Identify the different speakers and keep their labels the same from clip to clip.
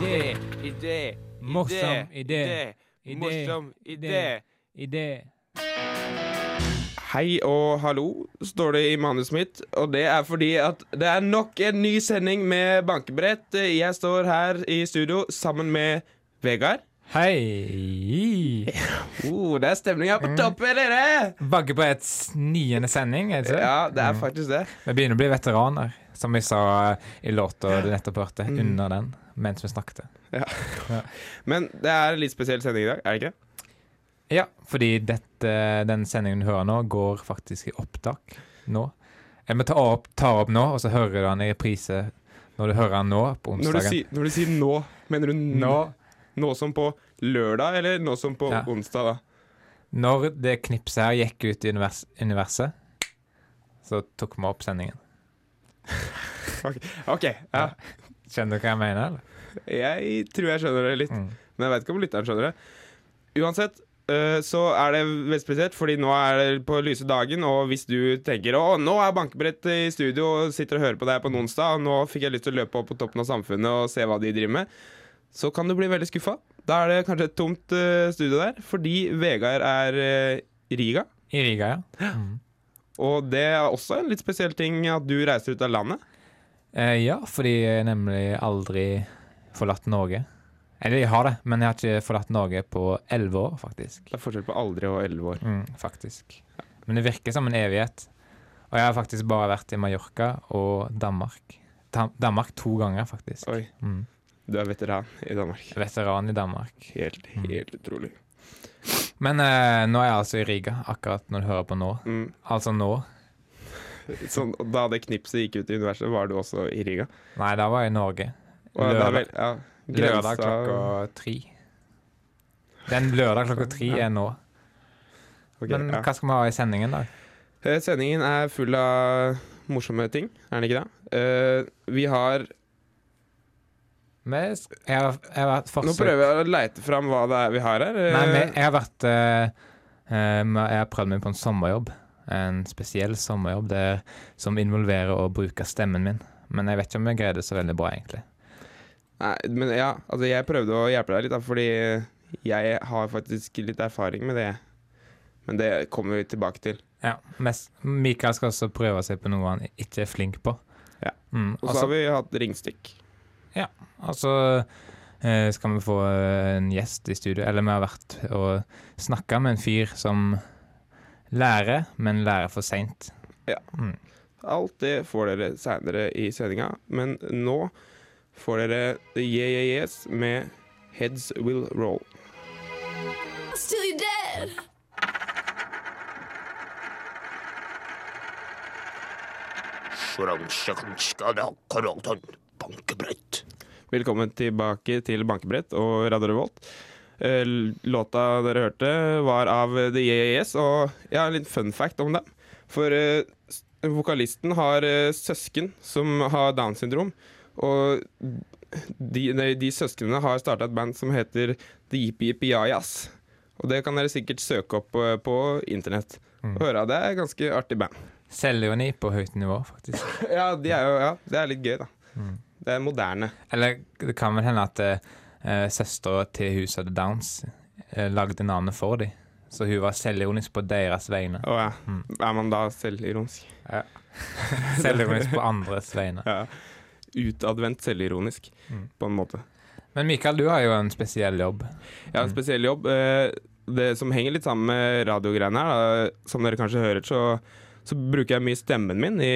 Speaker 1: idé, idé,
Speaker 2: Morsom idé. Idé.
Speaker 1: Morsom idé.
Speaker 2: Idé. Idé.
Speaker 1: Hei og hallo, står det i manuset mitt. Og det er fordi at det er nok en ny sending med bankebrett. Jeg står her i studio sammen med Vegard.
Speaker 2: Hei!
Speaker 1: Oh, det er stemninga
Speaker 2: Mm.
Speaker 1: på toppen, dere!
Speaker 2: Baggebretts niende sending, er det Mm. ikke det?
Speaker 1: Ja, det er faktisk det.
Speaker 2: Vi begynner å bli veteraner, som vi sa eh, i låta du nettopp hørte,
Speaker 1: Mm.
Speaker 2: under den, mens vi snakket.
Speaker 1: Men det er en litt spesiell sending i dag, er det ikke?
Speaker 2: Ja, fordi dette, den sendingen du hører nå, går faktisk i opptak nå. Jeg må ta opp, ta opp nå, og så hører du den i reprise når du hører den nå på
Speaker 1: Når du,
Speaker 2: onsdagen.
Speaker 1: sier, når du sier nå, mener du nå?
Speaker 2: Nå,
Speaker 1: Nå som på lørdag, eller nå som på
Speaker 2: Ja.
Speaker 1: onsdag, da?
Speaker 2: når det knipset her gikk ut i univers, universet, så tok vi opp sendingen.
Speaker 1: OK. Ja.
Speaker 2: Skjønner du hva jeg mener, eller?
Speaker 1: Jeg tror jeg skjønner det litt.
Speaker 2: Mm.
Speaker 1: Men jeg vet ikke om lytteren skjønner det. Uansett eh, så er det veldig spesielt, fordi nå er det på lyse dagen, og hvis du tenker å, nå er bankebrett i studio og sitter og hører på deg på en onsdag, og nå fikk jeg lyst til å løpe opp på toppen av samfunnet og se hva de driver med, så kan du bli veldig skuffa. Da er det kanskje et tomt eh, studio der, fordi Vegard er eh, i Riga.
Speaker 2: I Riga, ja. Mm.
Speaker 1: Og det er også en litt spesiell ting at du reiser ut av landet.
Speaker 2: Eh, ja, fordi jeg nemlig aldri forlatt Norge. Eller jeg har det, men jeg har ikke forlatt Norge på elleve år, faktisk.
Speaker 1: Det er forskjell på aldri og elleve år.
Speaker 2: Mm, faktisk. Men det virker som en evighet. Og jeg har faktisk bare vært i Mallorca og Danmark. Tam- Danmark to ganger, faktisk.
Speaker 1: Oi,
Speaker 2: Mm.
Speaker 1: du er veteran i Danmark.
Speaker 2: Veteran i Danmark.
Speaker 1: Helt, helt utrolig.
Speaker 2: Men eh, nå er jeg altså i Riga, akkurat når du hører på nå.
Speaker 1: Mm.
Speaker 2: Altså nå.
Speaker 1: Sånn, og da det knipset gikk ut i universet, var du også i Riga?
Speaker 2: Nei, da var jeg i Norge.
Speaker 1: Og det er vel, ja,
Speaker 2: Lørdag
Speaker 1: grensa-
Speaker 2: klokka tre. Den lørdag klokka tre er nå.
Speaker 1: Ok,
Speaker 2: Men
Speaker 1: ja.
Speaker 2: hva skal vi ha i sendingen, da?
Speaker 1: Eh, Sendingen er full av morsomme ting, er den ikke det? Eh, vi har
Speaker 2: Men jeg, jeg, har, jeg har vært
Speaker 1: Nå
Speaker 2: forsøk...
Speaker 1: prøver jeg å leite fram hva det er vi har her. Eh,
Speaker 2: Nei, men jeg har vært eh, eh, med- Jeg har prøvd meg på en sommerjobb. En spesiell sommerjobb der, som involverer å bruke stemmen min. Men jeg vet ikke om jeg greide det så veldig bra, egentlig.
Speaker 1: Nei, men ja, altså jeg prøvde å hjelpe deg litt, da, fordi jeg har faktisk litt erfaring med det. Men det kommer vi tilbake til.
Speaker 2: Ja, mest, Mikael skal også prøve seg på noe han ikke er flink på.
Speaker 1: Ja.
Speaker 2: Mm,
Speaker 1: Og så har vi hatt ringstikk.
Speaker 2: Og så eh, skal vi få eh, en gjest i studio. Eller vi har vært og snakka med en fyr som lærer, men lærer for seint.
Speaker 1: Alt det får dere seinere i sendinga, men nå får dere The Yeah Yeah Yes med Heads Will Roll.
Speaker 3: Still you're dead.
Speaker 4: Bankebrett.
Speaker 1: Velkommen tilbake til Bankebrett og Radio Revolt. Eh, Låta dere hørte, var av The YES, og jeg har en liten fun fact om dem. For eh, s- vokalisten har eh, søsken som har Downs syndrom, og de, de, de søsknene har starta et band som heter The Yippie Yippie Yayas. Og det kan dere sikkert søke opp eh, på internett.
Speaker 2: Mm.
Speaker 1: Og høre av det er et ganske artig band.
Speaker 2: Selvironi på høyt nivå, faktisk.
Speaker 1: Ja, de er jo, ja, det er litt gøy, da.
Speaker 2: Mm.
Speaker 1: Det er moderne.
Speaker 2: Eller det kan vel hende at uh, søstera til huset hadde Downs eh, lagde navnet for dem. Så hun var selvironisk på deres vegne.
Speaker 1: Å ja.
Speaker 2: Mm.
Speaker 1: Er man da selvironisk?
Speaker 2: Selvironisk på andres vegne.
Speaker 1: Ja. Utadvendt selvironisk,
Speaker 2: Mm.
Speaker 1: på en måte.
Speaker 2: Men Mikael, du har jo en spesiell jobb.
Speaker 1: Jeg
Speaker 2: Mm.
Speaker 1: har en spesiell jobb. eh, Det som henger litt sammen med radiogreiene her, da, som dere kanskje hører, så, så bruker jeg mye stemmen min i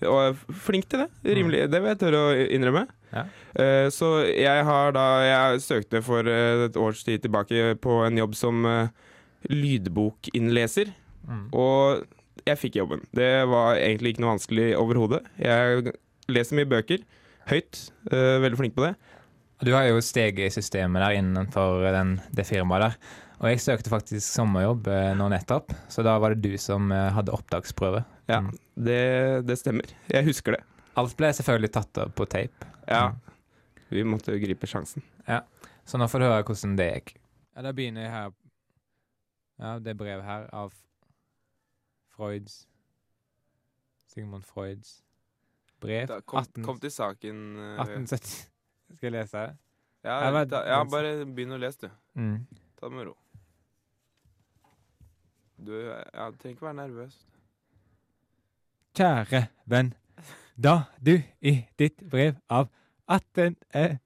Speaker 1: Og er flink til det. Rimelig. Det vil jeg tørre å innrømme.
Speaker 2: Mm. Ja.
Speaker 1: Eh, Så jeg har da Jeg søkte for eh, et års tid tilbake på en jobb som eh, lydbokinnleser.
Speaker 2: Mm.
Speaker 1: Og jeg fikk jobben. Det var egentlig ikke noe vanskelig overhodet. Jeg leser mye bøker. Høyt. eh, veldig flink på det.
Speaker 2: Du har jo steget i systemet der innenfor den, det firmaet der. Og jeg søkte faktisk sommerjobb eh, nå nettopp, så da var det du som eh, hadde opptaksprøve.
Speaker 1: Ja,
Speaker 2: Mm.
Speaker 1: det, det stemmer. Jeg husker det.
Speaker 2: Alt ble selvfølgelig tatt opp på tape,
Speaker 1: Ja.
Speaker 2: Mm.
Speaker 1: Vi måtte gripe sjansen.
Speaker 2: så nå får du høre hvordan det gikk. Ja, da begynner jeg her Ja, det brevet her av Freuds Sigmund Freuds brev 18,
Speaker 1: til saken. eh,
Speaker 2: 1870 Skal jeg lese det?
Speaker 1: Ja,
Speaker 2: Jeg vet-
Speaker 1: ta, ja bare begynn å lese, du.
Speaker 2: Mm.
Speaker 1: Ta det med ro. Du ja, du trenger ikke være nervøs.
Speaker 2: Kjære venn, da du i ditt brev av 18.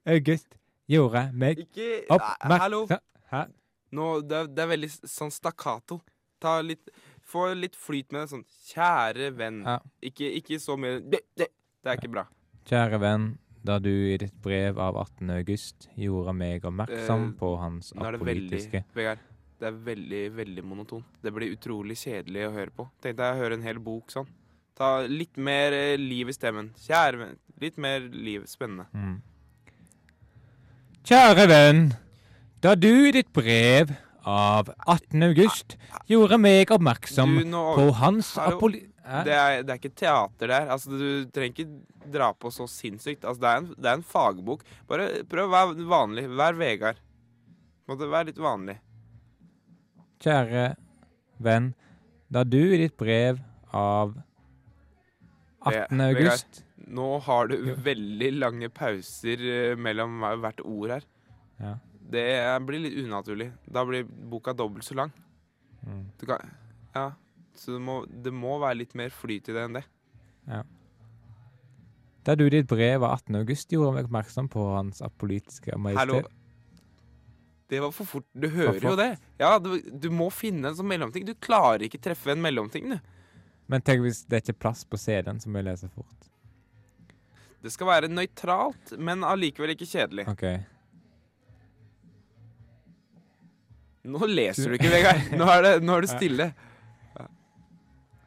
Speaker 2: august gjorde meg
Speaker 1: Ikke Nei, Hallo!
Speaker 2: oppmerksom Hæ?
Speaker 1: Nå, det, er, det er veldig s- sånn stakkato. Ta litt, få litt flyt med det. Sånn kjære venn.
Speaker 2: Ja.
Speaker 1: Ikke, ikke så mye det, det, det er ikke bra.
Speaker 2: Kjære venn, da du i ditt brev av 18. august gjorde meg oppmerksom
Speaker 1: Eh,
Speaker 2: på hans
Speaker 1: Nå er det veldig
Speaker 2: apolitiske
Speaker 1: Vegard, det er veldig, veldig monoton. Det blir utrolig kjedelig å høre på. Tenkte jeg å høre en hel bok sånn. Ta litt mer eh, liv i stemmen. Kjære venn. Litt mer liv. Spennende.
Speaker 2: Mm. Kjære venn, da du i ditt brev av 18. august gjorde meg oppmerksom
Speaker 1: Du, nå-
Speaker 2: på hans
Speaker 1: Hallo.
Speaker 2: apoli...
Speaker 1: Det er, det er ikke teater der. Altså, du trenger ikke dra på så sinnssykt. Altså, det, er en, det er en fagbok. Bare prøv å være vanlig. Vær Vegard. Måtte være litt vanlig.
Speaker 2: Kjære venn, da du i ditt brev av 18.
Speaker 1: Ve-
Speaker 2: august
Speaker 1: Nå har du veldig lange pauser eh, mellom hver- hvert ord her.
Speaker 2: Ja.
Speaker 1: Det eh, blir litt unaturlig. Da blir boka dobbelt så lang.
Speaker 2: Mm.
Speaker 1: Du kan, ja. Så det må, det må være litt mer flyt i det enn det.
Speaker 2: Da du i ditt brev av 18. august gjorde meg oppmerksom på hans apolitiske
Speaker 1: Hallo.
Speaker 2: majestet
Speaker 1: Det var for fort. Du hører
Speaker 2: For
Speaker 1: jo det. Ja, du, du må finne en sånn mellomting. Du klarer ikke treffe en mellomting, du.
Speaker 2: Men tenk hvis det ikke er plass på CD-en, så må jeg lese fort.
Speaker 1: Det skal være nøytralt, men allikevel ikke kjedelig.
Speaker 2: Ok.
Speaker 1: Nå leser du ikke, Vegard. Nå er det, nå er det stille.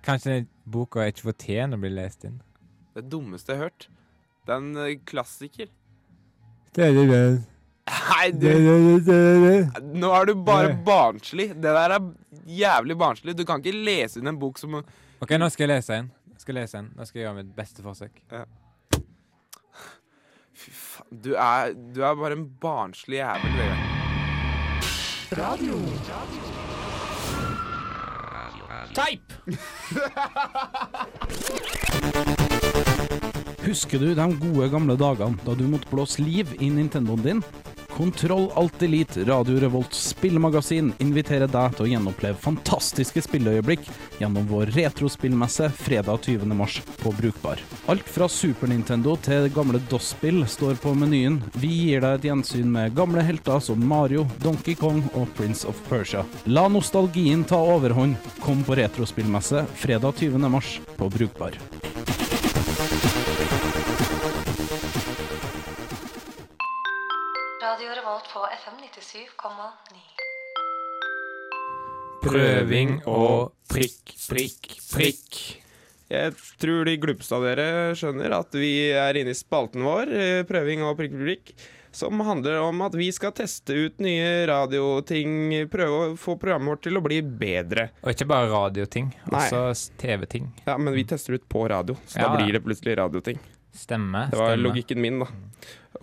Speaker 2: Kanskje den boka ikke fortjener å bli lest inn.
Speaker 1: Det dummeste jeg har hørt. Det er en eh, klassiker.
Speaker 2: Kjære venn,
Speaker 1: Nei, du
Speaker 2: Kjære
Speaker 1: Nå er du bare
Speaker 2: Det-
Speaker 1: barnslig. Det der er jævlig barnslig. Du kan ikke lese inn en bok som
Speaker 2: Ok, nå skal jeg lese en. Nå skal jeg lese en. Nå skal jeg gjøre mitt beste forsøk.
Speaker 1: Fy faen. Du er, du er bare en barnslig jævel, Vegard.
Speaker 4: Teip! Husker du de gode gamle dagene da du måtte blåse liv i Nintendoen din? Kontroll Alt Elite, Radio Revolts spillmagasin, inviterer deg til å gjenoppleve fantastiske spilleøyeblikk gjennom vår retrospillmesse fredag 20. mars på Brukbar. Alt fra Super Nintendo til gamle DOS-spill står på menyen. Vi gir deg et gjensyn med gamle helter som Mario, Donkey Kong og Prince of Persia. La nostalgien ta overhånd. Kom på retrospillmesse fredag 20. mars på Brukbar.
Speaker 5: Radio Revolt på FM 97,9.
Speaker 2: Prøving og prikk, prikk, prikk.
Speaker 1: Jeg tror de glupeste av dere skjønner at vi er inne i spalten vår, eh, prøving og prikk, prikk, prikk, som handler om at vi skal teste ut nye radioting, prøve å få programmet vårt til å bli bedre.
Speaker 2: Og ikke bare radioting,
Speaker 1: Nei.
Speaker 2: også s- TV-ting.
Speaker 1: Ja, men vi tester ut på radio, så
Speaker 2: Ja,
Speaker 1: da
Speaker 2: ja.
Speaker 1: blir det plutselig radioting.
Speaker 2: Stemme.
Speaker 1: Det var
Speaker 2: stemme.
Speaker 1: logikken min, da.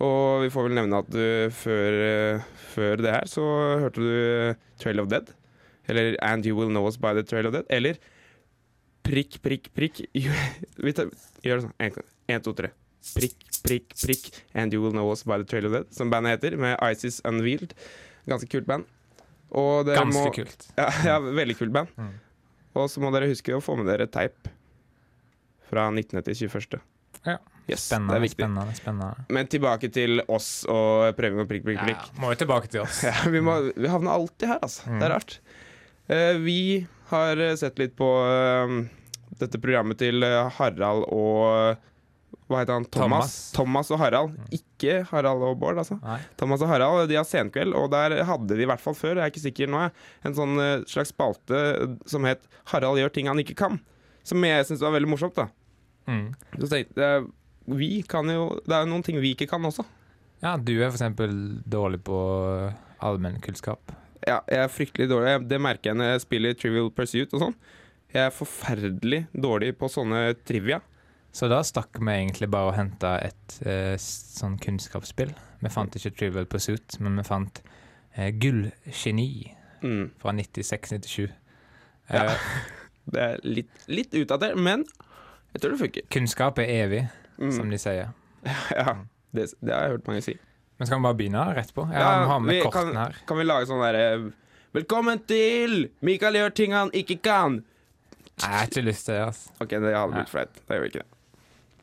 Speaker 1: Og vi får vel nevne at du, før, eh, før det her så hørte du eh, Trail of Dead. Eller And You Will Know Us By The Trail of Dead. Eller prikk, prikk, prikk You- Vi tar, gjør det sånn. En, en, to, tre. Prikk, prikk, prikk And You Will Know Us By The Trail of Dead, som bandet heter. Med Isis Unveiled. Ganske kult band. Og dere
Speaker 2: Ganske
Speaker 1: må-
Speaker 2: kult.
Speaker 1: Ja, ja, veldig kult band.
Speaker 2: Mm.
Speaker 1: Og så må dere huske å få med dere teip fra 19. til 21.
Speaker 2: Ja.
Speaker 1: Yes, det er
Speaker 2: Spennende,
Speaker 1: viktig.
Speaker 2: spennende, spennende.
Speaker 1: Men tilbake til oss og prøving og prikk, prikk,
Speaker 2: Ja,
Speaker 1: prikk.
Speaker 2: må jo tilbake til oss.
Speaker 1: Ja, vi, må, vi havner alltid her, altså. Det
Speaker 2: Mm.
Speaker 1: er rart. Eh, vi har eh, sett litt på eh, dette programmet til eh, Harald og Hva heter han?
Speaker 2: Thomas.
Speaker 1: Thomas.
Speaker 2: Mm.
Speaker 1: Thomas og Harald. Ikke Harald og Bård, altså.
Speaker 2: Nei.
Speaker 1: Thomas og Harald de har senkveld, og der hadde de i hvert fall før, jeg er ikke sikker nå, jeg, en sånn eh, slags spalte eh, som het 'Harald gjør ting han ikke kan'. Som jeg syntes var veldig morsomt. da
Speaker 2: Mm.
Speaker 1: Så tenkte jeg, vi kan jo, Det er noen ting vi ikke kan også.
Speaker 2: Ja, du er for eksempel dårlig på allmennkunnskap.
Speaker 1: Ja, jeg er fryktelig dårlig. Jeg- Det merker jeg når jeg spiller Trivial Pursuit og sånn. Jeg er forferdelig dårlig på sånne trivia.
Speaker 2: Så da stakk vi egentlig bare og henta et eh, s- sånn kunnskapsspill. Vi fant ikke Trivial Pursuit, men vi fant eh, Gullgeni
Speaker 1: Mm.
Speaker 2: fra 96-97.
Speaker 1: Ja.
Speaker 2: Eh,
Speaker 1: Det er litt, litt utdatert, men jeg tror det funker.
Speaker 2: kunnskap er evig,
Speaker 1: Mm.
Speaker 2: som de sier.
Speaker 1: Ja, det, det har jeg hørt mange si.
Speaker 2: Men skal vi bare begynne rett på? Jeg
Speaker 1: Ja,
Speaker 2: har med
Speaker 1: vi
Speaker 2: kortene
Speaker 1: kan,
Speaker 2: her.
Speaker 1: Kan vi lage sånn derre Velkommen til Mikael gjør ting han ikke kan.
Speaker 2: Nei, Jeg har ikke lyst til det. ass.
Speaker 1: OK, det hadde
Speaker 2: Ja.
Speaker 1: blitt flaut. Da gjør vi ikke det.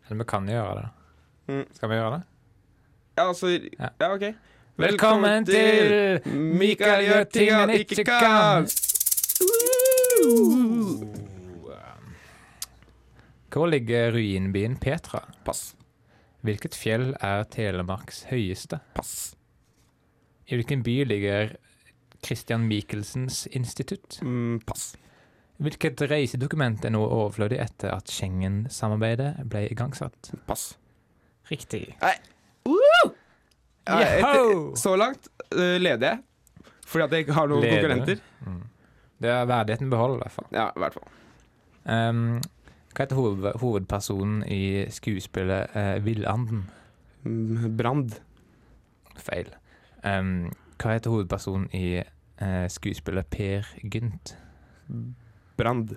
Speaker 2: Eller vi kan jo gjøre det.
Speaker 1: Mm.
Speaker 2: Skal vi gjøre det?
Speaker 1: Ja, altså
Speaker 2: Ja.
Speaker 1: Ja, OK.
Speaker 2: Velkommen til Mikael gjør ting han ikke kan. Hvor ligger ruinbyen Petra?
Speaker 1: Pass.
Speaker 2: Hvilket fjell er Telemarks høyeste?
Speaker 1: Pass.
Speaker 2: I hvilken by ligger Christian Michelsens institutt?
Speaker 1: Mm, pass.
Speaker 2: Hvilket reisedokument er nå overflødig etter at Schengen-samarbeidet ble igangsatt?
Speaker 1: Pass.
Speaker 2: Riktig.
Speaker 1: Ja,
Speaker 2: Yoho!
Speaker 1: etter, så langt eh, leder jeg. Fordi at jeg ikke har noen
Speaker 2: Leder.
Speaker 1: konkurrenter.
Speaker 2: Mm. Det er verdigheten beholder, i hvert fall.
Speaker 1: Ja, i hvert fall.
Speaker 2: Ehm, hva heter hoved, hovedpersonen i skuespillet eh, Villanden?
Speaker 1: Mm, Brand.
Speaker 2: Feil. Ehm, hva heter hovedpersonen i eh, skuespillet Per Gynt?
Speaker 1: Brand.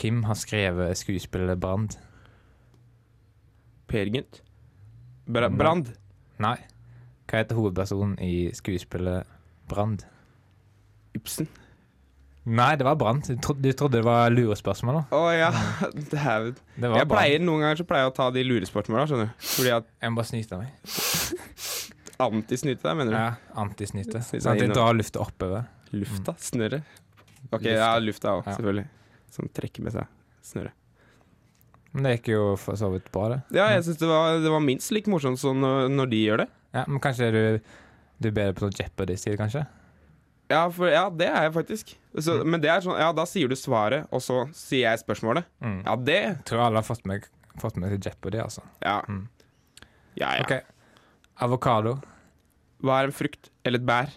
Speaker 2: Kim har skrevet skuespillet Brand.
Speaker 1: Per Gynt. Bra
Speaker 2: Nei.
Speaker 1: brand.
Speaker 2: Nei. Hva heter hovedpersonen i skuespillet Brand?
Speaker 1: Ibsen.
Speaker 2: Nei, det var Brand. Du trodde, du trodde det var lurespørsmål, da?
Speaker 1: Å ja. Dæven.
Speaker 2: Det var
Speaker 1: Jeg pleier noen ganger så pleier jeg å ta de lurespørsmåla, skjønner du. Fordi at
Speaker 2: Jeg må bare snyte meg.
Speaker 1: antisnyte deg, mener du?
Speaker 2: Ja, Antisnyte.
Speaker 1: Snyte
Speaker 2: Sånn at
Speaker 1: inn
Speaker 2: jeg
Speaker 1: og-
Speaker 2: drar lufta oppover.
Speaker 1: Lufta. Snørret.
Speaker 2: Mm.
Speaker 1: OK,
Speaker 2: Lufta.
Speaker 1: ja, lufta òg,
Speaker 2: Ja.
Speaker 1: selvfølgelig. Som trekker med seg snørret.
Speaker 2: Men det gikk jo for så vidt bra, det.
Speaker 1: Ja, jeg syns det, var- det var minst like morsomt som når, når de gjør det.
Speaker 2: Ja, Men kanskje du, du er bedre på sånn Jeopardy-stil, kanskje?
Speaker 1: Ja, for, ja, det er jeg faktisk. Så,
Speaker 2: Mm.
Speaker 1: Men det er sånn, ja, da sier du svaret, og så sier jeg spørsmålet.
Speaker 2: Mm.
Speaker 1: Ja, det
Speaker 2: Tror alle har fått med, fått med seg Jeopardy, altså.
Speaker 1: Ja,
Speaker 2: Mm.
Speaker 1: ja. ja.
Speaker 2: OK. Avokado.
Speaker 1: Hva er en frukt eller et bær?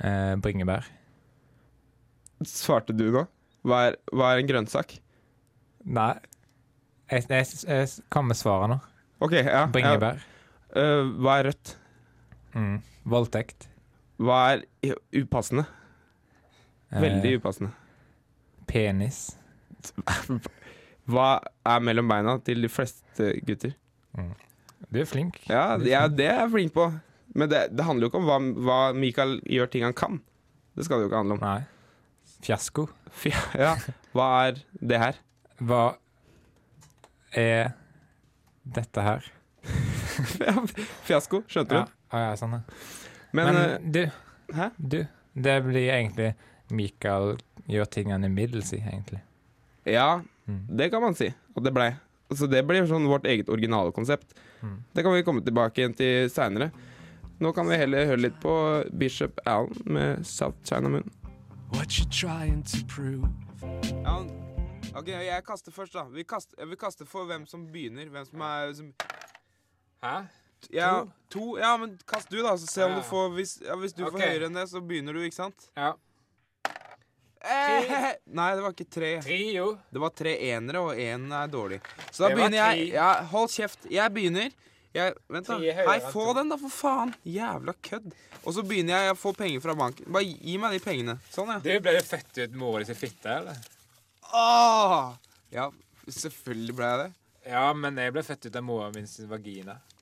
Speaker 2: Eh, bringebær.
Speaker 1: Svarte du nå? Hva er, hva er en grønnsak?
Speaker 2: Nei. Jeg, jeg, jeg, jeg kom med svaret nå.
Speaker 1: OK, ja. ja.
Speaker 2: Bringebær.
Speaker 1: Øh, hva er rødt?
Speaker 2: Mm. Voldtekt.
Speaker 1: Hva er i- upassende?
Speaker 2: Eh,
Speaker 1: Veldig upassende.
Speaker 2: Penis.
Speaker 1: Hva er mellom beina til de fleste gutter?
Speaker 2: Du er flink.
Speaker 1: Ja, det- ja det er jeg flink på. Men det, det handler jo ikke om hva, hva Michael gjør ting han kan. Det skal det jo ikke handle om.
Speaker 2: Nei. Fiasko.
Speaker 1: Fy- Ja, hva er det her?
Speaker 2: Hva er dette her?
Speaker 1: Fiasko, skjønte
Speaker 2: Ja,
Speaker 1: du?
Speaker 2: ja, ja sånn. ja.
Speaker 1: Men,
Speaker 2: Men, du,
Speaker 1: eh, hæ?
Speaker 2: du. Det blir egentlig Mikael gjør tingene middels i, egentlig.
Speaker 1: Ja,
Speaker 2: Mm.
Speaker 1: det kan man si. Og det blei. Så det blir sånn vårt eget originale konsept.
Speaker 2: Mm.
Speaker 1: Det kan vi komme tilbake igjen til seinere. Nå kan vi heller høre litt på Bishop Allen med South China Moon.
Speaker 6: What you trying to prove?
Speaker 1: OK, jeg kaster først, da. Vi kaster, jeg vil kaste for hvem som begynner. Hvem som er som,
Speaker 2: Hæ?
Speaker 1: Ja, to. Ja, men kast du, da. Så se om
Speaker 2: Ja.
Speaker 1: du får Hvis, ja, hvis du får
Speaker 2: Ok.
Speaker 1: høyere enn det, så begynner du, ikke sant?
Speaker 2: Ja.
Speaker 1: Eh, nei, det var ikke tre.
Speaker 2: Trio.
Speaker 1: Det var tre enere, og én er dårlig. Så da
Speaker 2: Det var
Speaker 1: begynner jeg.
Speaker 2: ti.
Speaker 1: Ja, hold kjeft. Jeg begynner. Jeg, vent, da.
Speaker 2: Ti er høyere
Speaker 1: Nei,
Speaker 2: enn
Speaker 1: få
Speaker 2: to.
Speaker 1: den, da, for faen. Jævla kødd. Og så begynner jeg å få penger fra banken. Bare gi- gi meg de pengene. Sånn, ja.
Speaker 2: Du ble jo født ut mora di sin fitte, eller?
Speaker 1: Åh! Ah! Ja, selvfølgelig ble jeg det.
Speaker 2: Ja, men jeg ble født ut av mora min sin vagina. Ah,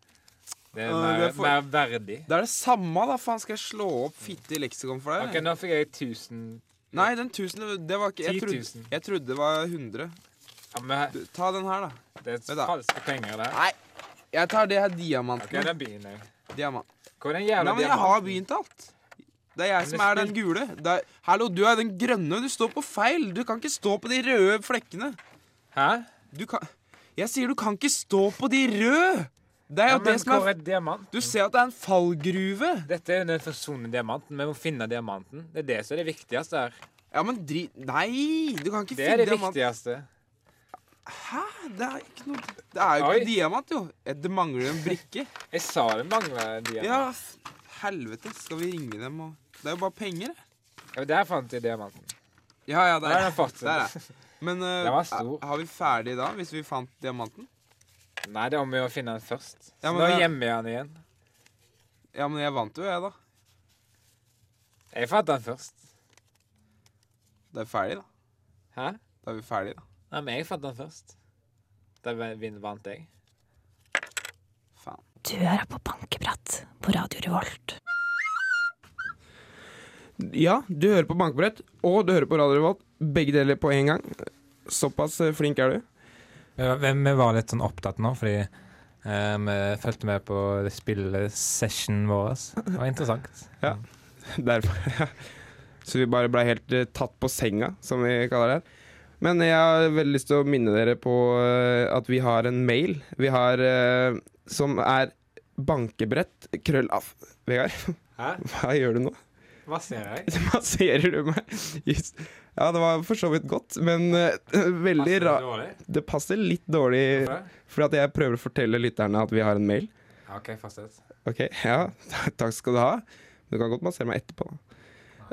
Speaker 2: Det er
Speaker 1: Ja,
Speaker 2: mer,
Speaker 1: det er for-
Speaker 2: mer verdig.
Speaker 1: Det er det samme, da. Faen, skal jeg slå opp fitte i leksikon for deg?
Speaker 2: Ok,
Speaker 1: eller?
Speaker 2: nå fikk jeg 1000
Speaker 1: Nei, den tusen, det var ikke jeg
Speaker 2: 10
Speaker 1: trodde,
Speaker 2: 000.
Speaker 1: jeg trodde det var 100.
Speaker 2: ja, men
Speaker 1: Du, Ta den her, da.
Speaker 2: Det er
Speaker 1: da.
Speaker 2: falske penger der.
Speaker 1: Nei, jeg tar det her
Speaker 2: Ok,
Speaker 1: diamanten.
Speaker 2: den begynner jeg.
Speaker 1: Diamant.
Speaker 2: Hvor er den jævla
Speaker 1: Nei, men jeg
Speaker 2: diamanten?
Speaker 1: har begynt alt. Det er jeg som
Speaker 2: det
Speaker 1: er den gule. Det er, hallo, du er den grønne. Du står på feil. Du kan ikke stå på de røde flekkene.
Speaker 2: Hæ?
Speaker 1: Du kan Jeg sier du kan ikke stå på de røde! Det er
Speaker 2: Ja,
Speaker 1: jo det
Speaker 2: men
Speaker 1: som
Speaker 2: hvor
Speaker 1: er
Speaker 2: er diamant?
Speaker 1: Du ser at det er en fallgruve.
Speaker 2: Dette er jo den forsvunne diamanten. Vi må finne diamanten. Det er det som er det viktigste her.
Speaker 1: Ja, men drit Nei! Du kan ikke
Speaker 2: Det er det
Speaker 1: diamant.
Speaker 2: viktigste.
Speaker 1: Hæ? Det er ikke noe Det er jo
Speaker 2: Oi.
Speaker 1: ikke diamant, jo. Eh, Det mangler en brikke.
Speaker 2: Jeg sa det mangla diamant.
Speaker 1: Ja, f- helvete. Skal vi ringe dem og Det er jo bare penger, det.
Speaker 2: Ja, men Der fant jeg diamanten.
Speaker 1: Ja, ja,
Speaker 2: Der har
Speaker 1: der.
Speaker 2: jeg fått
Speaker 1: Der
Speaker 2: den.
Speaker 1: er. Men eh,
Speaker 2: Den var stor.
Speaker 1: er- har vi ferdig da, hvis vi fant diamanten?
Speaker 2: Nei, det er om å gjøre å finne den først.
Speaker 1: Ja,
Speaker 2: Så
Speaker 1: men
Speaker 2: nå
Speaker 1: det-
Speaker 2: gjemmer jeg den igjen.
Speaker 1: Ja, men jeg vant jo, jeg, da.
Speaker 2: Jeg fant den først.
Speaker 1: Da er vi ferdige, da.
Speaker 2: Hæ?
Speaker 1: Da er vi ferdige, da.
Speaker 2: Nei, men jeg fant den først. Da vin- vant jeg.
Speaker 1: Faen.
Speaker 7: Du hører på Bankeprat på Radio Revolt.
Speaker 1: Ja, du hører på bankebrett, og du hører på Radio Revolt. Begge deler på én gang. Såpass eh, flink er du.
Speaker 2: Vi var- Vi var litt sånn opptatt nå, fordi eh, vi fulgte med på spillesessionen vår. Det var interessant.
Speaker 1: Derfor, ja. Så vi bare ble helt eh, tatt på senga, som vi kaller det her. Men jeg har veldig lyst til å minne dere på eh, at vi har en mail Vi har eh, som er bankebrett krøllaff. Vegard,
Speaker 2: Hæ?
Speaker 1: hva gjør du nå?
Speaker 2: Hva ser jeg?
Speaker 1: Masserer du meg? Just. Ja, det var for så vidt godt, men eh, veldig ra... Det passer litt dårlig, fordi at jeg prøver å fortelle lytterne at vi har en mail.
Speaker 2: OK, fortsett.
Speaker 1: Ok, ja. Takk skal du ha. Du kan godt massere meg etterpå. da.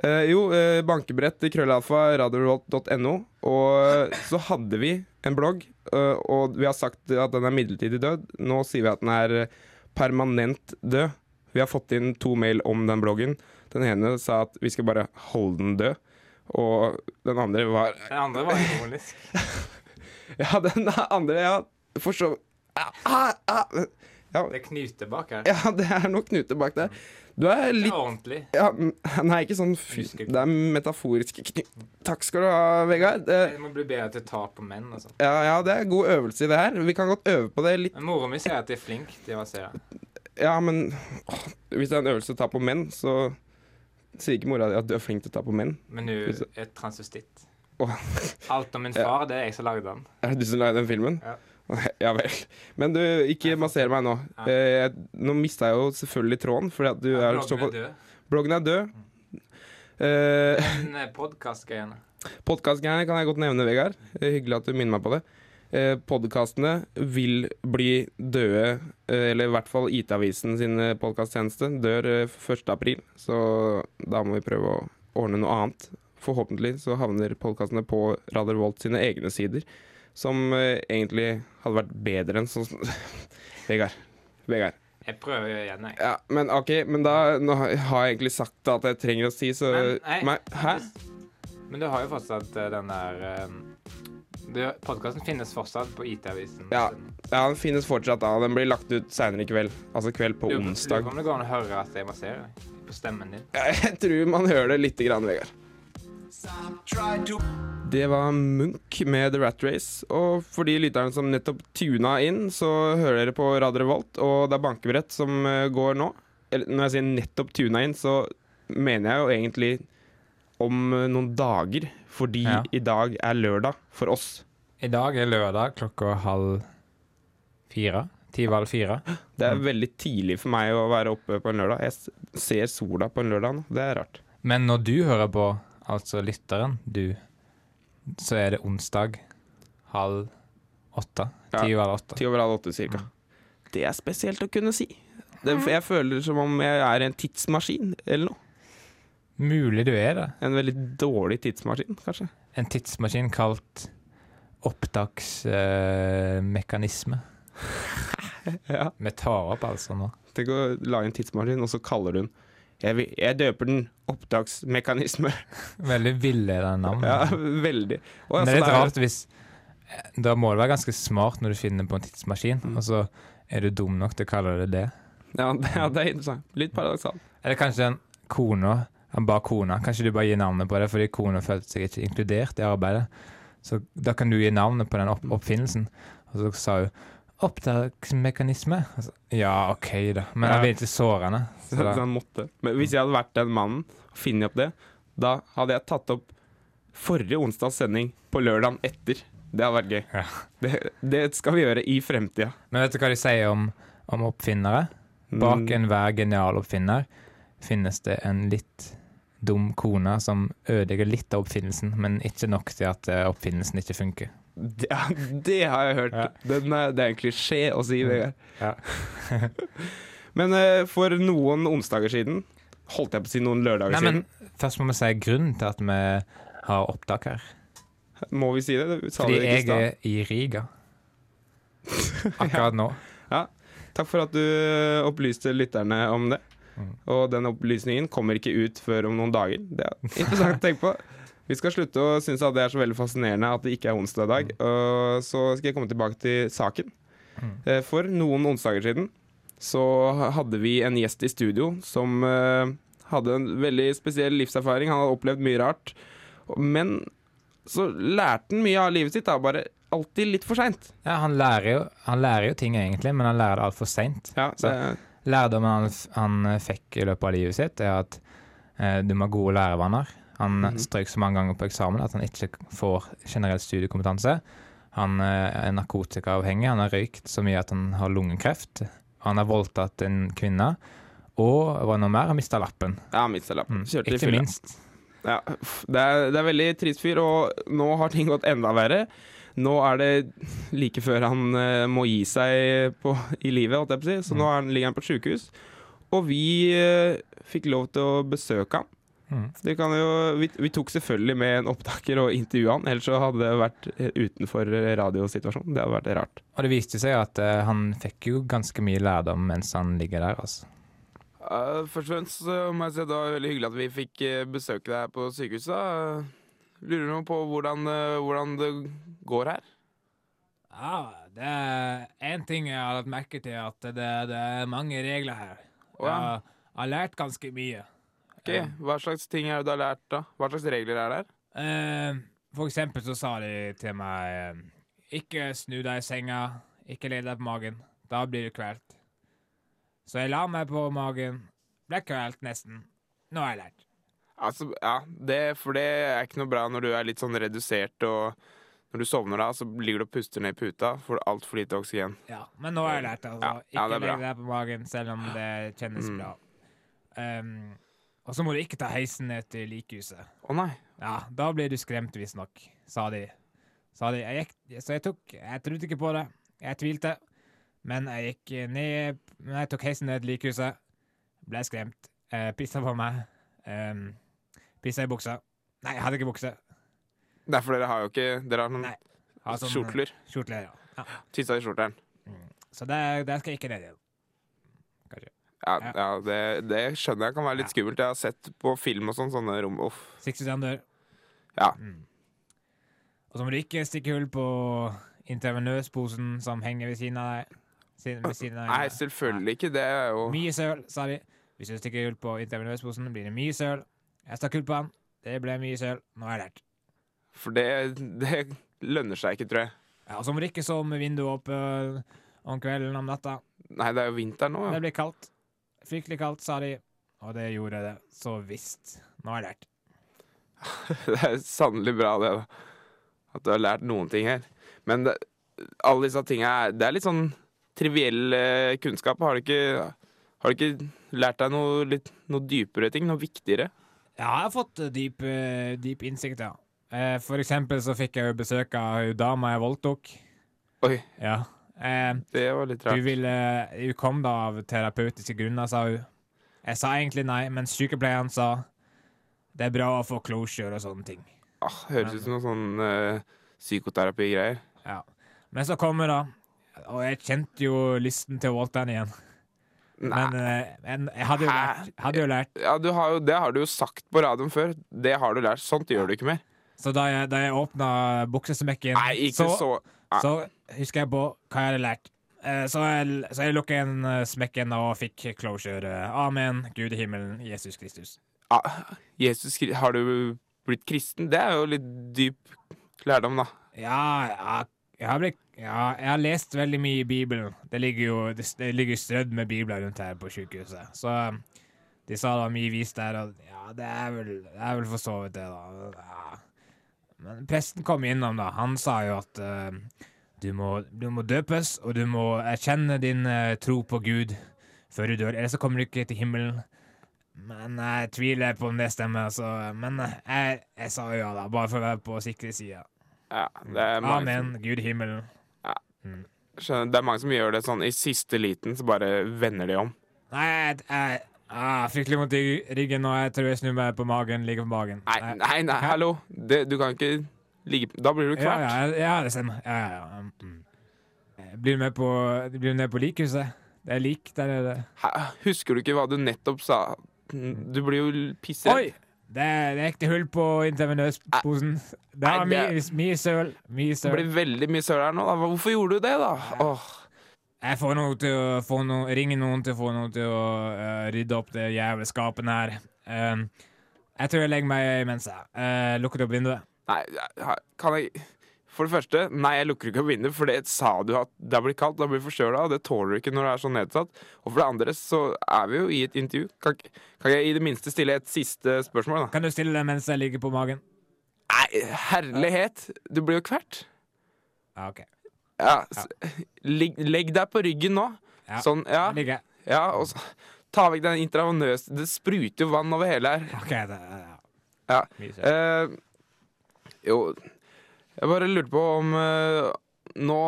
Speaker 1: Eh, jo, eh, bankebrett i krøllalfa radiorevolt.no. Og så hadde vi en blogg, eh, og vi har sagt at den er midlertidig død. Nå sier vi at den er eh, permanent død. Vi har fått inn to mail om den bloggen. Den ene sa at vi skal bare holde den død. Og den andre var
Speaker 2: Den andre var ironisk.
Speaker 1: Ja, den andre, ja. For så ah, ah, ah. Ja,
Speaker 2: Det er knute bak her.
Speaker 1: ja, det er noe knute bak der. Du er litt
Speaker 2: ordentlig.
Speaker 1: Ja, m- nei, ikke sånn fys...
Speaker 2: Husker ikke.
Speaker 1: Det er metaforiske kny... Takk skal du ha, Vegard. Eh,
Speaker 2: må bli bedre til å ta på menn og sånn.
Speaker 1: Ja, ja, det er god øvelse i det her. Vi kan godt øve på det litt.
Speaker 2: Mora mi sier at jeg er flink til å massere.
Speaker 1: Ja, men åh, hvis det er en øvelse å ta på menn, så sier ikke mora di at du er flink til å ta på menn.
Speaker 2: Men hun er transvestitt.
Speaker 1: Åh.
Speaker 2: Alt om min far, det er jeg som lagde den.
Speaker 1: Er det du som lagde den filmen?
Speaker 2: Ja.
Speaker 1: Ja vel. Men du, ikke masser meg nå. Eh, jeg- nå mista jeg jo selvfølgelig tråden, fordi at du er
Speaker 2: Bloggen
Speaker 1: så på
Speaker 2: død. Mm.
Speaker 1: Bloggen er død. Eh,
Speaker 2: Men eh, podcast-greiene
Speaker 1: Podkastgreiene kan jeg godt nevne, Vegard. Eh, Hyggelig at du minner meg på det. Eh, Podkastene vil bli døde, eh, eller i hvert fall IT-avisen sin podkasttjeneste dør eh, 1. april, så da må vi prøve å ordne noe annet. Forhåpentlig så havner podkastene på Radar Volt sine egne sider, som eh, egentlig hadde vært bedre enn sånn Vegard. Vegard.
Speaker 2: Jeg prøver jo igjen, jeg.
Speaker 1: Ja, men OK, men da nå har jeg egentlig sagt alt jeg trenger å si, så
Speaker 2: Men, nei.
Speaker 1: Nei, Hæ?
Speaker 2: Men du har jo fortsatt eh, den der eh, det- Podkasten finnes fortsatt på IT-avisen.
Speaker 1: Ja,
Speaker 2: sin.
Speaker 1: ja, den finnes fortsatt da. Den blir lagt ut senere i kveld. Altså kveld på
Speaker 2: Lurer-
Speaker 1: onsdag.
Speaker 2: lurer på om det går an å høre at jeg masserer deg på stemmen din.
Speaker 1: Jeg tror man hører det lite grann, Vegard. Det var Munch med The Rat Race. Og for de lytterne som nettopp tuna inn, så hører dere på Radio Revolt, og det er bankebrett som eh, går nå. Eller når jeg sier nettopp tuna inn, så mener jeg jo egentlig om eh, noen dager. Fordi
Speaker 2: Ja.
Speaker 1: i dag er lørdag for oss.
Speaker 2: I dag er lørdag klokka halv fire. Ti over halv fire.
Speaker 1: Det er veldig tidlig for meg å være oppe på en lørdag. Jeg s- ser sola på en lørdag nå. Det er rart.
Speaker 2: Men når du hører på, altså lytteren, du, så er det onsdag halv åtte.
Speaker 1: Ja.
Speaker 2: Ti over halv åtte.
Speaker 1: Ti over halv åtte, cirka. Mm. Det er spesielt å kunne si. Det, for jeg føler som om jeg er en tidsmaskin, eller noe.
Speaker 2: Mulig du er det.
Speaker 1: En veldig dårlig tidsmaskin, kanskje.
Speaker 2: En tidsmaskin kalt opptaksmekanisme.
Speaker 1: Ja.
Speaker 2: Vi tar opp altså nå.
Speaker 1: Tenk å lage en tidsmaskin, og så kaller du den jeg, vil- jeg døper den opptaksmekanisme.
Speaker 2: Veldig villedende navn.
Speaker 1: Ja, veldig. Og
Speaker 2: Men det er
Speaker 1: altså,
Speaker 2: litt rart hvis eh, Da må du være ganske smart når du finner på en tidsmaskin, og så er du dum nok til å kalle det det.
Speaker 1: Ja, det, ja, det er interessant. Litt paradoksalt.
Speaker 2: Eller kanskje den kona Han ba kona. Kanskje du bare gir navnet på det fordi kona følte seg ikke inkludert i arbeidet. Så da kan du gi navnet på den opp oppfinnelsen. Og så sa hun opptaksmekanisme. Og så, Ja, Sånn OK, da. Men
Speaker 1: Ja.
Speaker 2: han vil ikke såre henne.
Speaker 1: Så
Speaker 2: Så da,
Speaker 1: han måtte. Men hvis jeg hadde vært den mannen og funnet opp det, da hadde jeg tatt opp forrige onsdags sending på lørdagen etter. Det hadde vært gøy.
Speaker 2: Ja.
Speaker 1: Det, det skal vi gjøre i fremtida.
Speaker 2: Men vet du hva de sier om, om oppfinnere?
Speaker 1: Mm.
Speaker 2: Bak enhver genial oppfinner finnes det en litt dum kone som ødelegger litt av oppfinnelsen, men ikke nok til at eh, oppfinnelsen ikke funker.
Speaker 1: Det, ja, det har jeg hørt.
Speaker 2: Ja.
Speaker 1: Den er, det er en klisjé å si, Vegard.
Speaker 2: Ja.
Speaker 1: Men eh, for noen onsdager siden Holdt jeg på å si sånn. noen lørdager
Speaker 2: Nei, men
Speaker 1: siden?
Speaker 2: først må vi si grunnen til at vi har opptak her.
Speaker 1: Må vi si det? Du sa
Speaker 2: Fordi
Speaker 1: det ikke i
Speaker 2: jeg
Speaker 1: stad.
Speaker 2: er i Riga. Akkurat nå.
Speaker 1: Takk for at du eh, opplyste lytterne om det. Og den opplysningen kommer ikke ut før om noen dager. Det er interessant å tenke på. Vi skal slutte å synes at det er så veldig fascinerende at det ikke er onsdag i dag. Og så skal jeg komme tilbake til saken. Eh, For noen onsdager siden så hadde vi en gjest i studio som eh, hadde en veldig spesiell livserfaring. Han hadde opplevd mye rart. Men så lærte han mye av livet sitt, da, bare alltid litt for seint.
Speaker 8: Ja, han lærer, jo, han lærer jo ting egentlig, men han lærer det altfor seint.
Speaker 1: Ja,
Speaker 8: Så-
Speaker 1: det-
Speaker 8: Lærdommen han, f- han eh, fikk i løpet av livet sitt, er at eh, du må ha gode lærevaner. Han
Speaker 1: Mhm.
Speaker 8: strøk så mange ganger på eksamen at han ikke får generell studiekompetanse. Han eh, er narkotikaavhengig, han har røykt så mye at han har lungekreft. Han har voldtatt en kvinne, og hva nå mer, mista lappen.
Speaker 1: ja mista lappen.
Speaker 8: Mm.
Speaker 1: Kjørte i
Speaker 8: Ikke
Speaker 1: fylla.
Speaker 8: minst.
Speaker 1: Ja, uff, det, er, det er veldig trist fyr, og nå har ting gått enda verre. Nå er det like før han eh, må gi seg på, i livet, holdt jeg på å si. Så nå er han, ligger han på et sjukehus. Og vi eh, fikk lov til å besøke han.
Speaker 8: Mm.
Speaker 1: Det kan jo, vi, vi tok selvfølgelig med en opptaker og intervjua han, ellers så hadde det vært eh, utenfor radiosituasjonen. Det hadde vært rart.
Speaker 8: Og det viste seg at eh, han fikk jo ganske mye lærdom mens han ligger der, altså.
Speaker 1: Uh, først og fremst så må jeg si at det var veldig hyggelig at vi fikk eh, besøke deg på sykehuset. da. Lurer nå på hvordan, eh, hvordan det går her?
Speaker 2: Ja, det er én ting jeg har lagt merke til, at det, det er mange regler her.
Speaker 1: Å ja.
Speaker 2: Jeg har lært ganske mye.
Speaker 1: Ok, Hva slags ting er det du har lært, da? Hva slags regler er der?
Speaker 2: Eh, for eksempel så sa de til meg eh, Ikke snu deg i senga, ikke legg deg på magen. Da blir du kvelt. Så jeg la meg på magen. Ble kvelt, nesten. Nå har jeg lært.
Speaker 1: Altså, ja, det, For det er ikke noe bra når du er litt sånn redusert og når du sovner da, så ligger du og puster ned i puta, får du altfor lite oksygen.
Speaker 2: Ja, men nå har jeg lært, altså.
Speaker 1: Ja, ja,
Speaker 2: Ikke
Speaker 1: det er bra.
Speaker 2: legg deg på magen, selv om det kjennes
Speaker 1: Mm.
Speaker 2: bra. Ehm, og så må du ikke ta heisen ned til likhuset.
Speaker 1: Å nei.
Speaker 2: Ja, da ble du skremt, visstnok, sa de. Sa de. Jeg gikk, så jeg tok Jeg trodde ikke på det. Jeg tvilte. Men jeg gikk ned men Jeg tok heisen ned til likehuset. Ble skremt. Eh, Pissa på meg. Um, Pissa i buksa. Nei, jeg hadde ikke bukse.
Speaker 1: Derfor dere har jo ikke Dere har noen
Speaker 2: Nei, Har sånn-
Speaker 1: skjortler.
Speaker 2: Skjortler, ja. ja.
Speaker 1: Tissa i skjorteren.
Speaker 2: Så der, der skal jeg ikke ned igjen.
Speaker 1: Ja,
Speaker 2: Ja.
Speaker 1: ja det, det skjønner jeg kan være litt skummelt. Jeg har sett på film og sånn sånne rom Uff.
Speaker 2: Six to dør.
Speaker 1: Ja.
Speaker 2: Mm. Og så må du ikke stikke hull på intravenøsposen som henger ved siden av deg. Siden- Ved siden av
Speaker 1: Nei, selvfølgelig ikke. Det er jo
Speaker 2: Mye søl, sa de. Hvis du stikker hull på intravenøsposen, blir det mye søl. Jeg stakk hull på han. Det ble mye søl. Nå har jeg lært.
Speaker 1: For det, det lønner seg ikke, tror jeg.
Speaker 2: Ja, og så må du ikke sove med vinduet oppe om kvelden om natta.
Speaker 1: Nei, det er jo vinter nå.
Speaker 2: Det
Speaker 1: Ja.
Speaker 2: blir kaldt. Fryktelig kaldt, sa de. Og det gjorde det. Så visst. Nå har jeg lært.
Speaker 1: Det er sannelig bra det, da. At du har lært noen ting her. Men det, alle disse tinga er Det er litt sånn triviell eh, kunnskap. Har du ikke, har du ikke lært deg noe, litt, noe dypere ting? Noe viktigere?
Speaker 2: Ja, jeg har fått eh, dyp, eh, dyp innsikt, ja. Eh, For eksempel så fikk jeg jo besøk av hun dama jeg voldtok.
Speaker 1: Oi,
Speaker 2: Ja. Eh,
Speaker 1: det var litt
Speaker 2: Du
Speaker 1: rart.
Speaker 2: ville Hun kom da av terapeutiske grunner, sa hun. Jeg sa egentlig nei, men sykepleieren sa det er bra å få closure og sånne ting.
Speaker 1: Ah, høres ut som noe sånn eh, psykoterapigreier.
Speaker 2: Ja. Men så kom hun, da. Og jeg kjente jo lysten til å voldta henne igjen.
Speaker 1: Nei.
Speaker 2: Men eh, men jeg hadde jo
Speaker 1: Hæ?
Speaker 2: lært. Hadde jo lært.
Speaker 1: Ja, du har jo, det har du jo sagt på radioen før. Det har du lært. Sånt gjør du ikke mer.
Speaker 2: Så da jeg, da jeg åpna buksesmekken,
Speaker 1: Nei, ikke så, Nei.
Speaker 2: så husker jeg på hva jeg hadde lært. Eh, Så jeg, så jeg lukket en eh, smekken og fikk closure. Amen, Gud i himmelen, Jesus Kristus.
Speaker 1: ah, Jesus, Kri- Har du blitt kristen? Det er jo litt dyp lærdom, da.
Speaker 2: Ja, ja, jeg har, blitt, ja, jeg har lest veldig mye i Bibelen. Det ligger jo det, det ligger strødd med bibler rundt her på sykehuset. Så um, de sa det var mye vis der, og ja, det er vel, det er vel for så vidt det, da. Ja. Men presten kom innom, da. Han sa jo at eh, du, må, du må døpes, og du må erkjenne din eh, tro på Gud før du dør, ellers så kommer du ikke til himmelen. Men uh, jeg tviler på om det stemmer, så Men eh, jeg, jeg sa jo ja, da, bare for å være på sikre sida.
Speaker 1: Ja, det er mange som-
Speaker 2: Amen, Gud i himmelen.
Speaker 1: Skjønner, det er mange som gjør det sånn i siste liten, så bare vender de om.
Speaker 2: Nei, jeg, jeg ah, fryktelig vondt i ryggen, og jeg tror jeg snur meg på magen. Ligger på magen.
Speaker 1: Nei,
Speaker 2: Jeg-
Speaker 1: nei, nei, hallo! Det, du kan ikke ligge Da blir du
Speaker 2: Ja,
Speaker 1: kvalt.
Speaker 2: ja, ja, det stemmer. Ja, ja, ja. mm, Mm. Jeg Blir du med på, blir du med på likhuset? Det er lik der nede.
Speaker 1: Hæ? Husker du ikke hva du nettopp sa? Du blir jo
Speaker 2: Oi!
Speaker 1: pissredd.
Speaker 2: Det er det er ekte hull på intravenøsposen. Det
Speaker 1: Nei,
Speaker 2: er
Speaker 1: det-
Speaker 2: mye, mye søl. Mye
Speaker 1: Det
Speaker 2: søl.
Speaker 1: blir veldig mye søl her nå. Da. Hvorfor gjorde du det, da? Åh.
Speaker 9: Jeg får noe til å få noe, ringe noen til å få noen til å eh, rydde opp det jævla skapet her. Um, jeg tror jeg legger meg imens, jeg. Eh, lukker opp vinduet.
Speaker 1: Nei, jeg- kan jeg For det første, nei, jeg lukker ikke opp vinduet, for det sa du at det blir kaldt, da blir du forkjøla, og det tåler du ikke når du er så nedsatt. Og for det andre så er vi jo i et intervju. Kan, ikke- kan jeg i det minste stille et siste spørsmål, da?
Speaker 9: Kan du stille deg mens jeg ligger på magen?
Speaker 1: Nei, herlighet! Du blir jo kvert.
Speaker 9: Ja, OK.
Speaker 1: Ja, s- Ligg, legg deg på ryggen nå.
Speaker 9: Ja.
Speaker 1: Sånn, ja.
Speaker 9: Jeg ligger.
Speaker 1: ja og så, ta vekk den intravenøs Det spruter jo vann over hele her.
Speaker 9: OK, det, ja.
Speaker 1: Ja.
Speaker 9: Mye søtt.
Speaker 1: Eh, jo, jeg bare lurte på om eh, Nå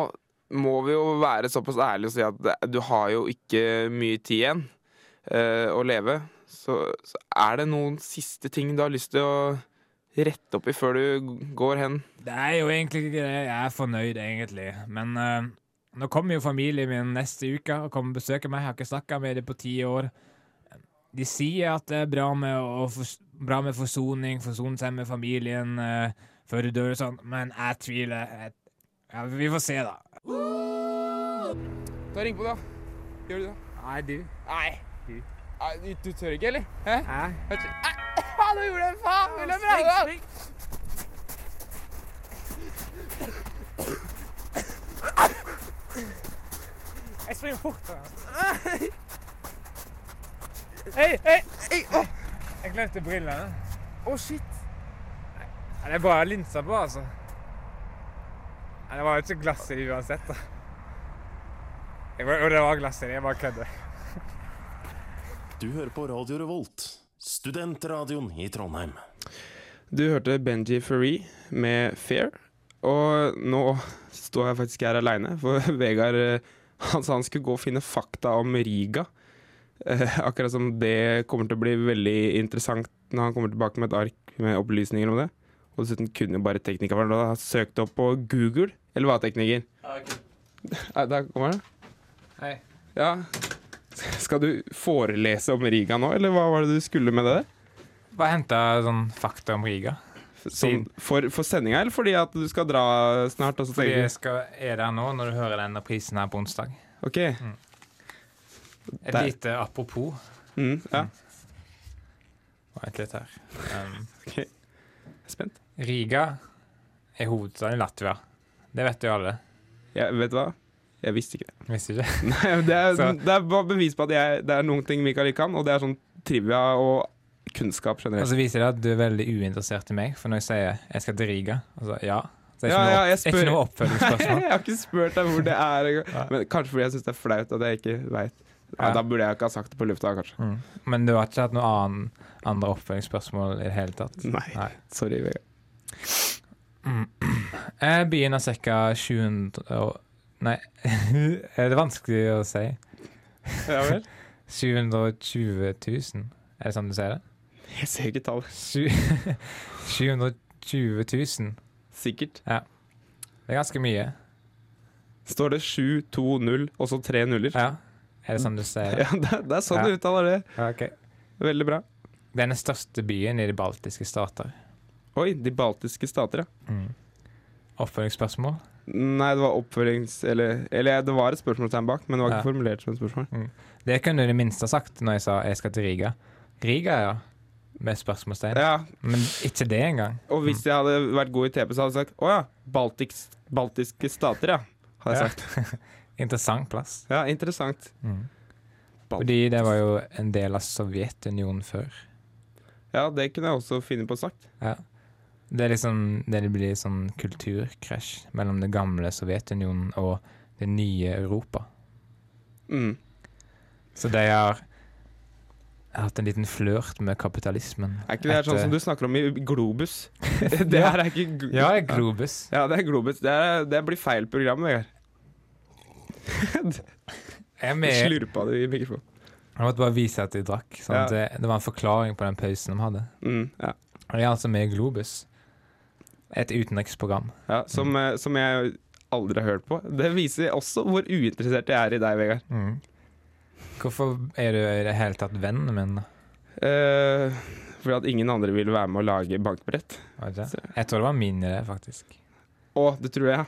Speaker 1: må vi jo være såpass ærlige og si at det- du har jo ikke mye tid igjen eh, å leve. Så, så er det noen siste ting du har lyst til å rette opp i før du g- går hen?
Speaker 9: Det er jo egentlig ikke det. Jeg er fornøyd, egentlig. Men eh, nå kommer jo familien min neste uke og kommer og besøker meg. Jeg har ikke snakka med dem på ti år. De sier at det er bra med, å, fors- bra med forsoning, forsone seg med familien eh, før du dør og sånn, men jeg tviler. Jeg, ja, vi får se, da.
Speaker 1: Ta Ring på, da. Gjør du det?
Speaker 9: Nei, du.
Speaker 1: Nei. Nei, du, du tør ikke, eller? Hæ?
Speaker 9: Hæ?
Speaker 1: Hæ? Faen, du gjorde det! Faen! Vil du prøve?
Speaker 9: Jeg springer fort.
Speaker 1: Hei, hei! Å,
Speaker 9: Jeg glemte brillene.
Speaker 1: å, shit!
Speaker 9: Det er bare linser på, altså. Det var jo ikke glass i uansett, da. Og det var glass i, jeg bare kødder.
Speaker 10: Du hører på Radio Revolt, studentradioen i Trondheim.
Speaker 1: Du hørte Benji Furry med Fair, og nå står jeg faktisk her aleine, for Vegard eh, han sa han skulle gå og finne fakta om Riga. Eh, akkurat som det kommer til å bli veldig interessant når han kommer tilbake med et ark med opplysninger om det. Og dessuten kunne jo bare teknikeren da ha søkt opp på Google, eller hva, tekniker? Nei, Der kommer han.
Speaker 9: Hei.
Speaker 1: Ja. Skal du forelese om Riga nå, eller hva var det du skulle med det der?
Speaker 2: Bare hente sånn fakta om Riga.
Speaker 1: Sånn, for for sendinga, eller fordi at du skal dra snart? Og så
Speaker 2: Fordi
Speaker 1: tenker
Speaker 2: jeg
Speaker 1: du
Speaker 2: skal, er der nå når du hører denne prisen her på onsdag.
Speaker 1: OK.
Speaker 2: Et
Speaker 1: Der.
Speaker 2: lite apropos.
Speaker 1: Mm, ja.
Speaker 2: Vent litt her. Um,
Speaker 1: ok. Jeg er spent.
Speaker 2: Riga er hovedstaden i Latvia. Det vet jo alle.
Speaker 1: Jeg, vet du hva? Jeg visste ikke det.
Speaker 2: Visste ikke?
Speaker 1: Nei, det, er,
Speaker 2: Så-
Speaker 1: det er bare bevis på at jeg, det er noen ting Mikael ikke kan, og det er sånn trivia og kunnskap
Speaker 2: Og
Speaker 1: generelt.
Speaker 2: så viser det at du er veldig uinteressert i meg, for når jeg sier jeg skal til Riga, og så ja Så er det
Speaker 1: Ja,
Speaker 2: ikke noe,
Speaker 1: ja,
Speaker 2: opp- er
Speaker 1: jeg
Speaker 2: ikke
Speaker 1: spør-
Speaker 2: noe oppfølgingsspørsmål.
Speaker 1: jeg har ikke spurt deg hvor det er engang.
Speaker 2: Altså, Nei.
Speaker 1: Men kanskje fordi jeg syns det er flaut at jeg ikke veit. Ja,
Speaker 2: Ja.
Speaker 1: da burde jeg ikke ha sagt det på lufta, kanskje.
Speaker 2: Mm. Men du har ikke hatt noe annen, andre oppfølgingsspørsmål i det hele tatt?
Speaker 1: Nei. Sorry, Vegard.
Speaker 2: Eh, Byen har ca. 700 og, Nei, er det vanskelig å si?
Speaker 1: Ja vel?
Speaker 2: 720 000, er det sånn du sier det?
Speaker 1: Jeg ser ikke tallet.
Speaker 2: Sju- 720 000.
Speaker 1: Sikkert.
Speaker 2: Det er ganske mye.
Speaker 1: Står det 720 og så tre nuller?
Speaker 2: Ja. Er det sånn du sier det?
Speaker 1: Ja, det, det er sånn
Speaker 2: Ja.
Speaker 1: du uttaler det.
Speaker 2: Ja, ok.
Speaker 1: Veldig bra.
Speaker 2: Det er den største byen i de baltiske stater.
Speaker 1: Oi, de baltiske stater, ja.
Speaker 2: Mm. Oppfølgingsspørsmål?
Speaker 1: Nei, det var oppfølgings... Eller, eller det var et spørsmålstegn bak, men det var ikke
Speaker 2: Ja.
Speaker 1: formulert som et spørsmål.
Speaker 2: Det kunne du i det minste ha sagt når jeg sa jeg skal til Riga. Riga, ja. Med spørsmålstegn.
Speaker 1: Ja,
Speaker 2: Men ikke det engang.
Speaker 1: Og hvis jeg hadde vært god i TP, så hadde jeg sagt å ja, Baltiks, baltiske stater, ja. Hadde
Speaker 2: Ja.
Speaker 1: jeg sagt.
Speaker 2: Interessant plass.
Speaker 1: Ja, interessant.
Speaker 2: Mm.
Speaker 1: Bal-
Speaker 2: Fordi det var jo en del av Sovjetunionen før.
Speaker 1: Ja, det kunne jeg også finne på å sagt.
Speaker 2: Ja. Det er liksom Det blir sånn kulturkrasj mellom det gamle Sovjetunionen og det nye Europa.
Speaker 1: Mm.
Speaker 2: Så de har hatt en liten flørt med kapitalismen.
Speaker 1: Er ikke det her sånn
Speaker 2: eh,
Speaker 1: som du snakker om i Globus? det her er ikke gl-
Speaker 2: Ja, Globus.
Speaker 1: Ja, det er Globus. Det, er, det blir feil program, Vegard.
Speaker 2: Jeg, er
Speaker 1: Du
Speaker 2: med,
Speaker 1: Slurpa du i mikrofonen.
Speaker 2: jeg måtte bare vise at de drakk. Sånn at det, det var en forklaring på den pausen de hadde.
Speaker 1: Mm, ja.
Speaker 2: Og det er altså med Globus. Et utenriksprogram.
Speaker 1: Ja, som,
Speaker 2: Mm.
Speaker 1: eh, som jeg aldri har hørt på. Det viser også hvor uinteressert jeg er i deg, Vegard.
Speaker 2: Hvorfor er du i det hele tatt vennen min?
Speaker 1: Eh, fordi at ingen andre vil være med å lage bankbrett.
Speaker 2: Var det det? Jeg tror det var min idé, faktisk.
Speaker 1: Å, det tror jeg.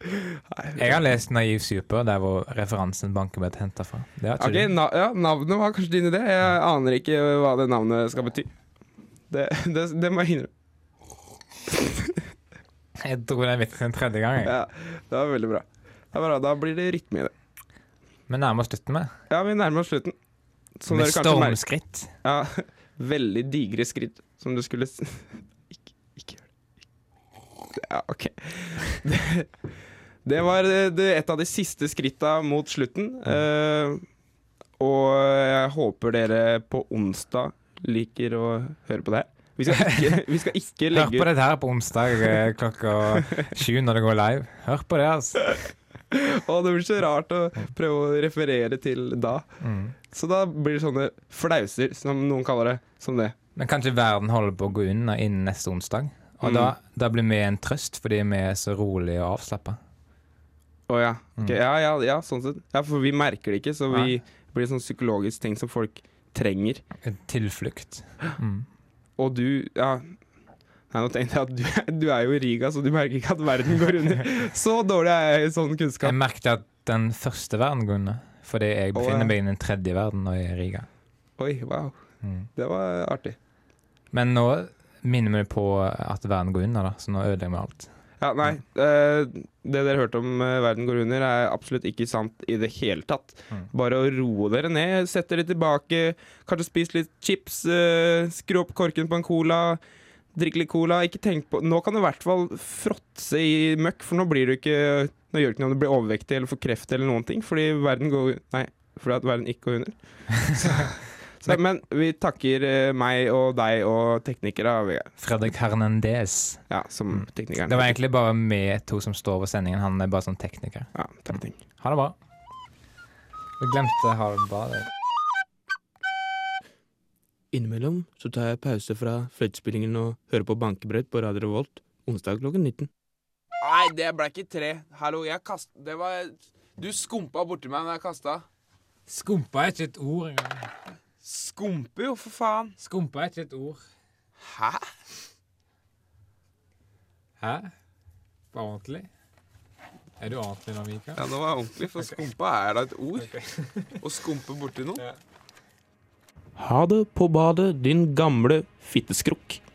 Speaker 2: Jeg har lest Naiv Super, der hvor referansen Bankebrett henta fra. Det har ikke
Speaker 1: Ok,
Speaker 2: du.
Speaker 1: na ja, Navnet var kanskje din idé. Jeg aner ikke hva det navnet skal bety. Det, det, det må jeg innrømme.
Speaker 2: Jeg dro den vitsen en tredje gang. Jeg.
Speaker 1: Ja, det var veldig bra. Det er bra. Da blir det rytme i det.
Speaker 2: Men nærmer oss slutten med.
Speaker 1: Ja, vi nærmer oss slutten. Som
Speaker 2: Med
Speaker 1: dere kanskje merker.
Speaker 2: stormskritt.
Speaker 1: Ja, veldig digre skritt som du skulle s- Ikke, ikke gjør det. Ja, OK. Det, det var eh, det, et av de siste skritta mot slutten. eh, og jeg håper dere på onsdag liker å høre på det her. Vi skal ikke, vi skal ikke
Speaker 2: Hør
Speaker 1: legge
Speaker 2: på dette her på onsdag eh, klokka sju når det går live. Hør på det, altså.
Speaker 1: Å, det blir så rart å prøve å referere til da.
Speaker 2: Mm.
Speaker 1: Så da blir det sånne flauser, som noen kaller det. Som det.
Speaker 2: Men kanskje verden holder på å gå under innen neste onsdag. Og
Speaker 1: Mm.
Speaker 2: da, da blir vi en trøst, fordi vi er så rolige og avslappa.
Speaker 1: Å ja.
Speaker 2: Mm.
Speaker 1: Ok, ja, ja, ja, sånn sett. Ja, for vi merker det ikke, så vi
Speaker 2: Nei.
Speaker 1: blir sånn psykologisk ting som folk trenger.
Speaker 2: En Tilflukt. Mm.
Speaker 1: Og du, ja Nei, nå tenkte jeg at du, du er jo i Riga, så du merker ikke at verden går under. Så dårlig er jeg i sånn
Speaker 2: Jeg
Speaker 1: kunnskap.
Speaker 2: merket at den første verden går under, fordi jeg
Speaker 1: Å,
Speaker 2: befinner
Speaker 1: ja.
Speaker 2: meg i den tredje verden når jeg er i Riga.
Speaker 1: Oi, wow.
Speaker 2: Mm.
Speaker 1: Det var artig.
Speaker 2: Men nå minner vi på at verden går under, da, så nå ødelegger vi alt.
Speaker 1: Ja, nei. eh, det dere hørte om eh, verden går under, er absolutt ikke sant i det hele tatt.
Speaker 2: Mm.
Speaker 1: Bare å roe dere ned, sette dere tilbake, kanskje spise litt chips, eh, skru opp korken på en cola, drikke litt cola. Ikke tenk på Nå kan du i hvert fall fråtse i møkk, for nå blir du ikke Nå gjør det ikke noe om du blir overvektig eller får kreft eller noen ting, fordi verden går Nei, fordi at verden ikke går under. Så, så, men vi takker eh, meg og deg og teknikere, Vegard.
Speaker 2: Fredrik Hernandez.
Speaker 1: Ja, som teknikeren.
Speaker 2: Mm. Det var egentlig bare vi to som står over sendingen. Han er bare sånn tekniker.
Speaker 1: ja, takk, ting.
Speaker 2: Ha det bra. Vi glemte ha det bra. det.
Speaker 11: Innimellom så tar jeg pause fra fløytespillingen og hører på bankebrett på Radio Revolt onsdag klokken 19.
Speaker 1: Nei, det ble ikke tre. Hallo, jeg kast... Det var Du skumpa borti meg når jeg kasta.
Speaker 9: Skumpa er ikke et ord engang.
Speaker 1: Skumpe jo, for faen.
Speaker 9: Skumpa er ikke et ord.
Speaker 1: Hæ?
Speaker 9: Hæ? På ordentlig? Er du ordentlig nå, Mikael?
Speaker 1: Ja, nå var jeg ordentlig, for skumpa er da et ord. Å skumpe borti noe.
Speaker 11: Ha det på badet, din gamle fitteskrukk.